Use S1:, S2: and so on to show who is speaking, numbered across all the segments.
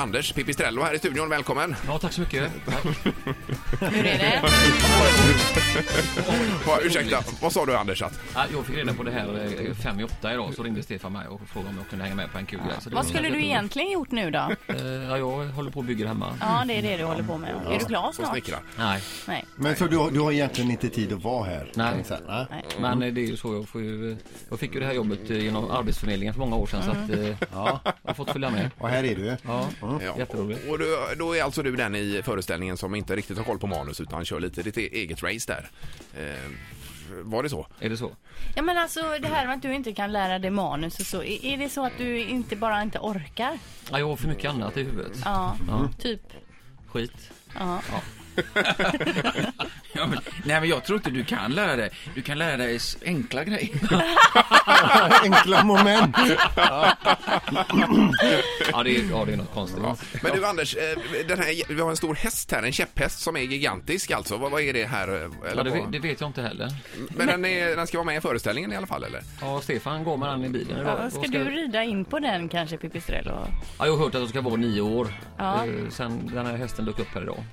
S1: Anders Pipistrello här i studion. Välkommen!
S2: Ja, tack så mycket. Tack.
S3: Hur är det?
S1: Va, ursäkta, vad sa du Anders? Att,
S2: Ja, jag fick reda på det här eh, fem i åtta idag, så ringde Stefan mig och frågade om jag kunde hänga med på en kul grej. Så det
S3: Vad
S2: var
S3: skulle du
S2: jävligt roligt.
S3: egentligen gjort nu då?
S2: Eh, Ja, jag håller på och bygger hemma.
S3: Ja, det är det du håller på med. Är du klar
S1: som
S3: snart?
S1: snickrar.
S2: Nej,
S3: Nej.
S4: Men för du, har- du har egentligen inte tid att vara här.
S2: Nej.
S4: kan jag säga, va?
S3: Nej.
S2: men
S5: Mm.
S2: eh, det är ju så. Jag, får ju, eh, jag fick ju det här jobbet eh, genom Arbetsförmedlingen för många år sedan,
S3: Mm.
S2: så att eh,
S4: Ja.
S2: jag har fått följa med.
S4: Och här är du.
S2: Ja,
S5: Mm.
S1: Ja.
S2: jätteroligt.
S1: Och då, då är alltså du den i föreställningen som inte riktigt har koll på manus utan kör lite ditt e- eget race där. Eh, var det så?
S2: Är det så?
S3: Ja men alltså det här med att du inte kan lära dig manus och så. Är är det så att du inte bara inte orkar?
S2: Ja, jag har för mycket annat i huvudet.
S3: Ja,
S2: Ja.
S5: Mm.
S3: typ.
S2: Skit.
S3: Ja.
S5: Ja, men, nej men jag tror inte du kan lära dig. Du kan lära dig s- enkla grejer.
S4: Enkla moment.
S2: Ja, det är, ja, det är något konstigt.
S1: Men du Anders, eh, den här, vi har en stor häst här, en käpphäst som är gigantisk alltså. Vad, vad är det här? eh,
S2: Ja,
S1: Eller
S2: det,
S1: vad?
S2: ve- det vet jag inte heller.
S1: Men den, är, den ska vara med i föreställningen i alla fall eller?
S2: Ja, Stefan går med den i bilen idag.
S3: Ja, ska
S2: Och
S3: du rida in på den kanske Pipistrello?
S2: Ja, jag har hört att de ska vara nio år.
S3: Ja.
S2: Eh, Sen den här hästen dök upp här idag.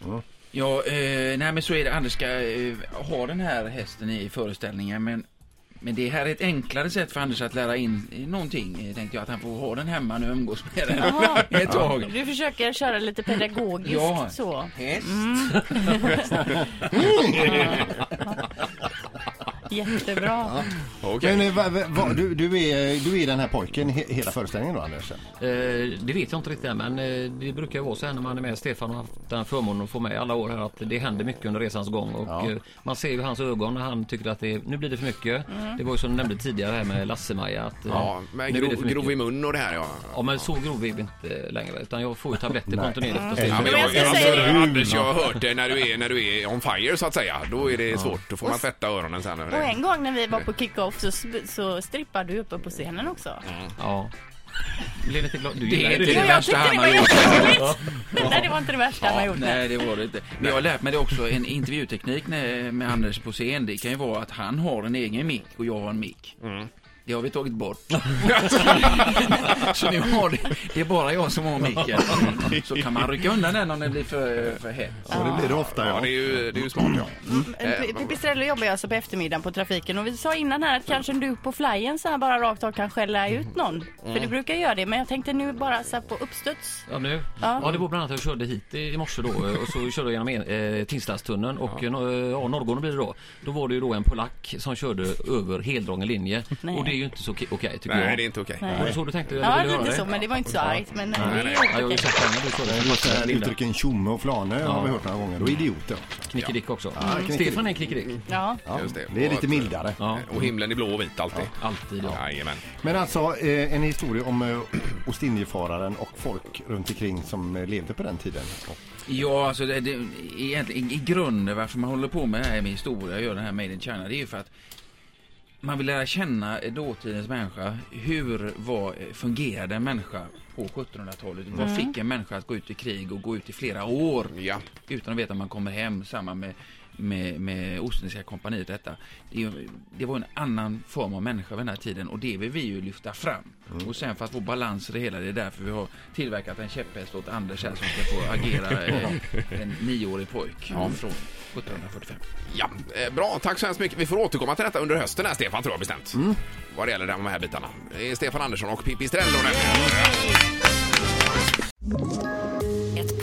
S5: Ja, eh, nej men så är det. Anders ska eh, ha den här hästen i föreställningen men men det här är ett enklare sätt för Anders att lära in eh, någonting, eh, tänkte jag. Att han får ha den hemma nu och umgås med den
S3: Jaha. Mm.
S5: ett tag.
S3: Du försöker köra lite pedagogiskt
S5: Ja.
S3: så.
S5: Häst.
S3: Mm, Jättebra.
S1: Okej.
S4: Men eh, va, va, va, du, du, är, du är den här pojken he, hela föreställningen då Anders?
S2: Eh, det vet jag inte riktigt än, men eh, det brukar ju vara så här när man är med Stefan och haft den förmånen att få med alla år här att det händer mycket under resans gång och
S4: Ja.
S2: eh, man ser ju hans ögon när han tycker att det är, nu blir det för mycket.
S3: Mm.
S2: Det var ju som du nämnde tidigare här med Lasse-Maja att eh,
S1: Ja, men
S2: nu blir det för
S1: grov, grov i
S2: mycket.
S1: mun och det här ja.
S2: Ja men så grov är vi inte längre utan jag får ju tabletter kontinuerligt. Och
S4: Ja,
S1: Ja,
S2: Stefan-
S1: men
S3: Men jag
S1: jag,
S3: ska
S1: jag,
S3: säga
S1: alltså,
S4: det.
S1: Anders, jag har hört det när du, är, när du är on fire så att säga. Då är det svårt. Då får man tvätta öronen sen.
S3: Och en gång när vi var på kick-off så, sp- så strippade du uppe på scenen också.
S2: Ja. Blev lite glad. Du
S5: Det
S2: gillar
S5: är
S2: ju
S5: inte
S3: Jo,
S5: det
S3: jag
S5: värsta
S3: tyckte det
S5: han
S3: var
S5: har gjort.
S3: jätteroligt. Nej, det var inte det värsta han har gjort.
S5: Nej, det var det inte. Men jag har lärt mig det också, en intervjuteknik när- med Anders på scen, det kan ju vara att han har en egen mick och jag har en mick. Det har vi tagit bort. så nu har det, det är bara jag som har micken. Så kan man rycka undan den om det blir för, för hett.
S4: Ja, det blir det ofta
S1: Ja,
S4: ja.
S1: det är ju, det är ju smart ja.
S3: Eh, P- Pipistrello jobbar ju alltså på eftermiddagen på trafiken och vi sa innan här att kanske du på flyen så här bara rakt av kan skälla ut någon. För du brukar göra det men jag tänkte nu bara så här på uppstuds.
S2: Ja, nu.
S3: Ja.
S2: Ja. det var bland annat att jag körde hit i i morse då eh, och så körde jag genom en- eh, Tingstadstunneln och ja. Ja, Norrgården blir det då. Då var det ju då en polack som körde över heldragen linje
S3: Nej.
S2: och det är ju inte så ki- okej tycker
S1: Nej,
S2: jag.
S1: det är inte okej.
S2: Var det så du tänkte?
S3: Ja,
S2: eller ville du
S3: lite
S2: höra
S3: så men det var inte så argt men eh, det
S1: nej.
S3: är ju
S2: Ja, jag har ju
S3: okej.
S2: sett den när du såg den. Just
S4: Just
S2: den lilla
S4: Uttrycken tjomme och flane har vi hört några gånger och idioter.
S2: Knickedick också.
S4: knickedick.
S2: Stefan är knickedick.
S3: Ja.
S4: Ja,
S1: Just det.
S4: det är lite
S1: Och-
S4: mildare.
S2: Ja,
S1: Och himlen är blå och vit alltid.
S2: alltid. Ja.
S1: Jajamän.
S4: Men alltså eh, en historia om eh, Ostindiefararen och folk runt omkring som eh, levde på den tiden.
S5: Ja, alltså det, det, egentligen, i grunden varför man håller på med det här med historia och gör den här Made in China, det är ju för att man vill lära känna dåtidens människa. Hur var, fungerade en människa på 1700-talet? Vad fick en människa att gå ut i krig och gå ut i flera år
S1: Ja.
S5: utan att veta att man kommer hem? Samma med, med, med Ostindiska kompaniet detta. Det, är ju- det var en annan form av människa vid den här tiden och det vill vi ju lyfta fram. Och sen för att få balans i det hela, det är därför vi har tillverkat en käpphäst åt Anders här som ska få agera eh, en nioårig pojk från 1745.
S1: ja. Eh, Bra, tack så hemskt mycket. Vi får återkomma till detta under hösten här, Stefan, tror jag bestämt. Vad det gäller de här bitarna. Det är Stefan Andersson och Pippi Strello nämligen.
S6: Ett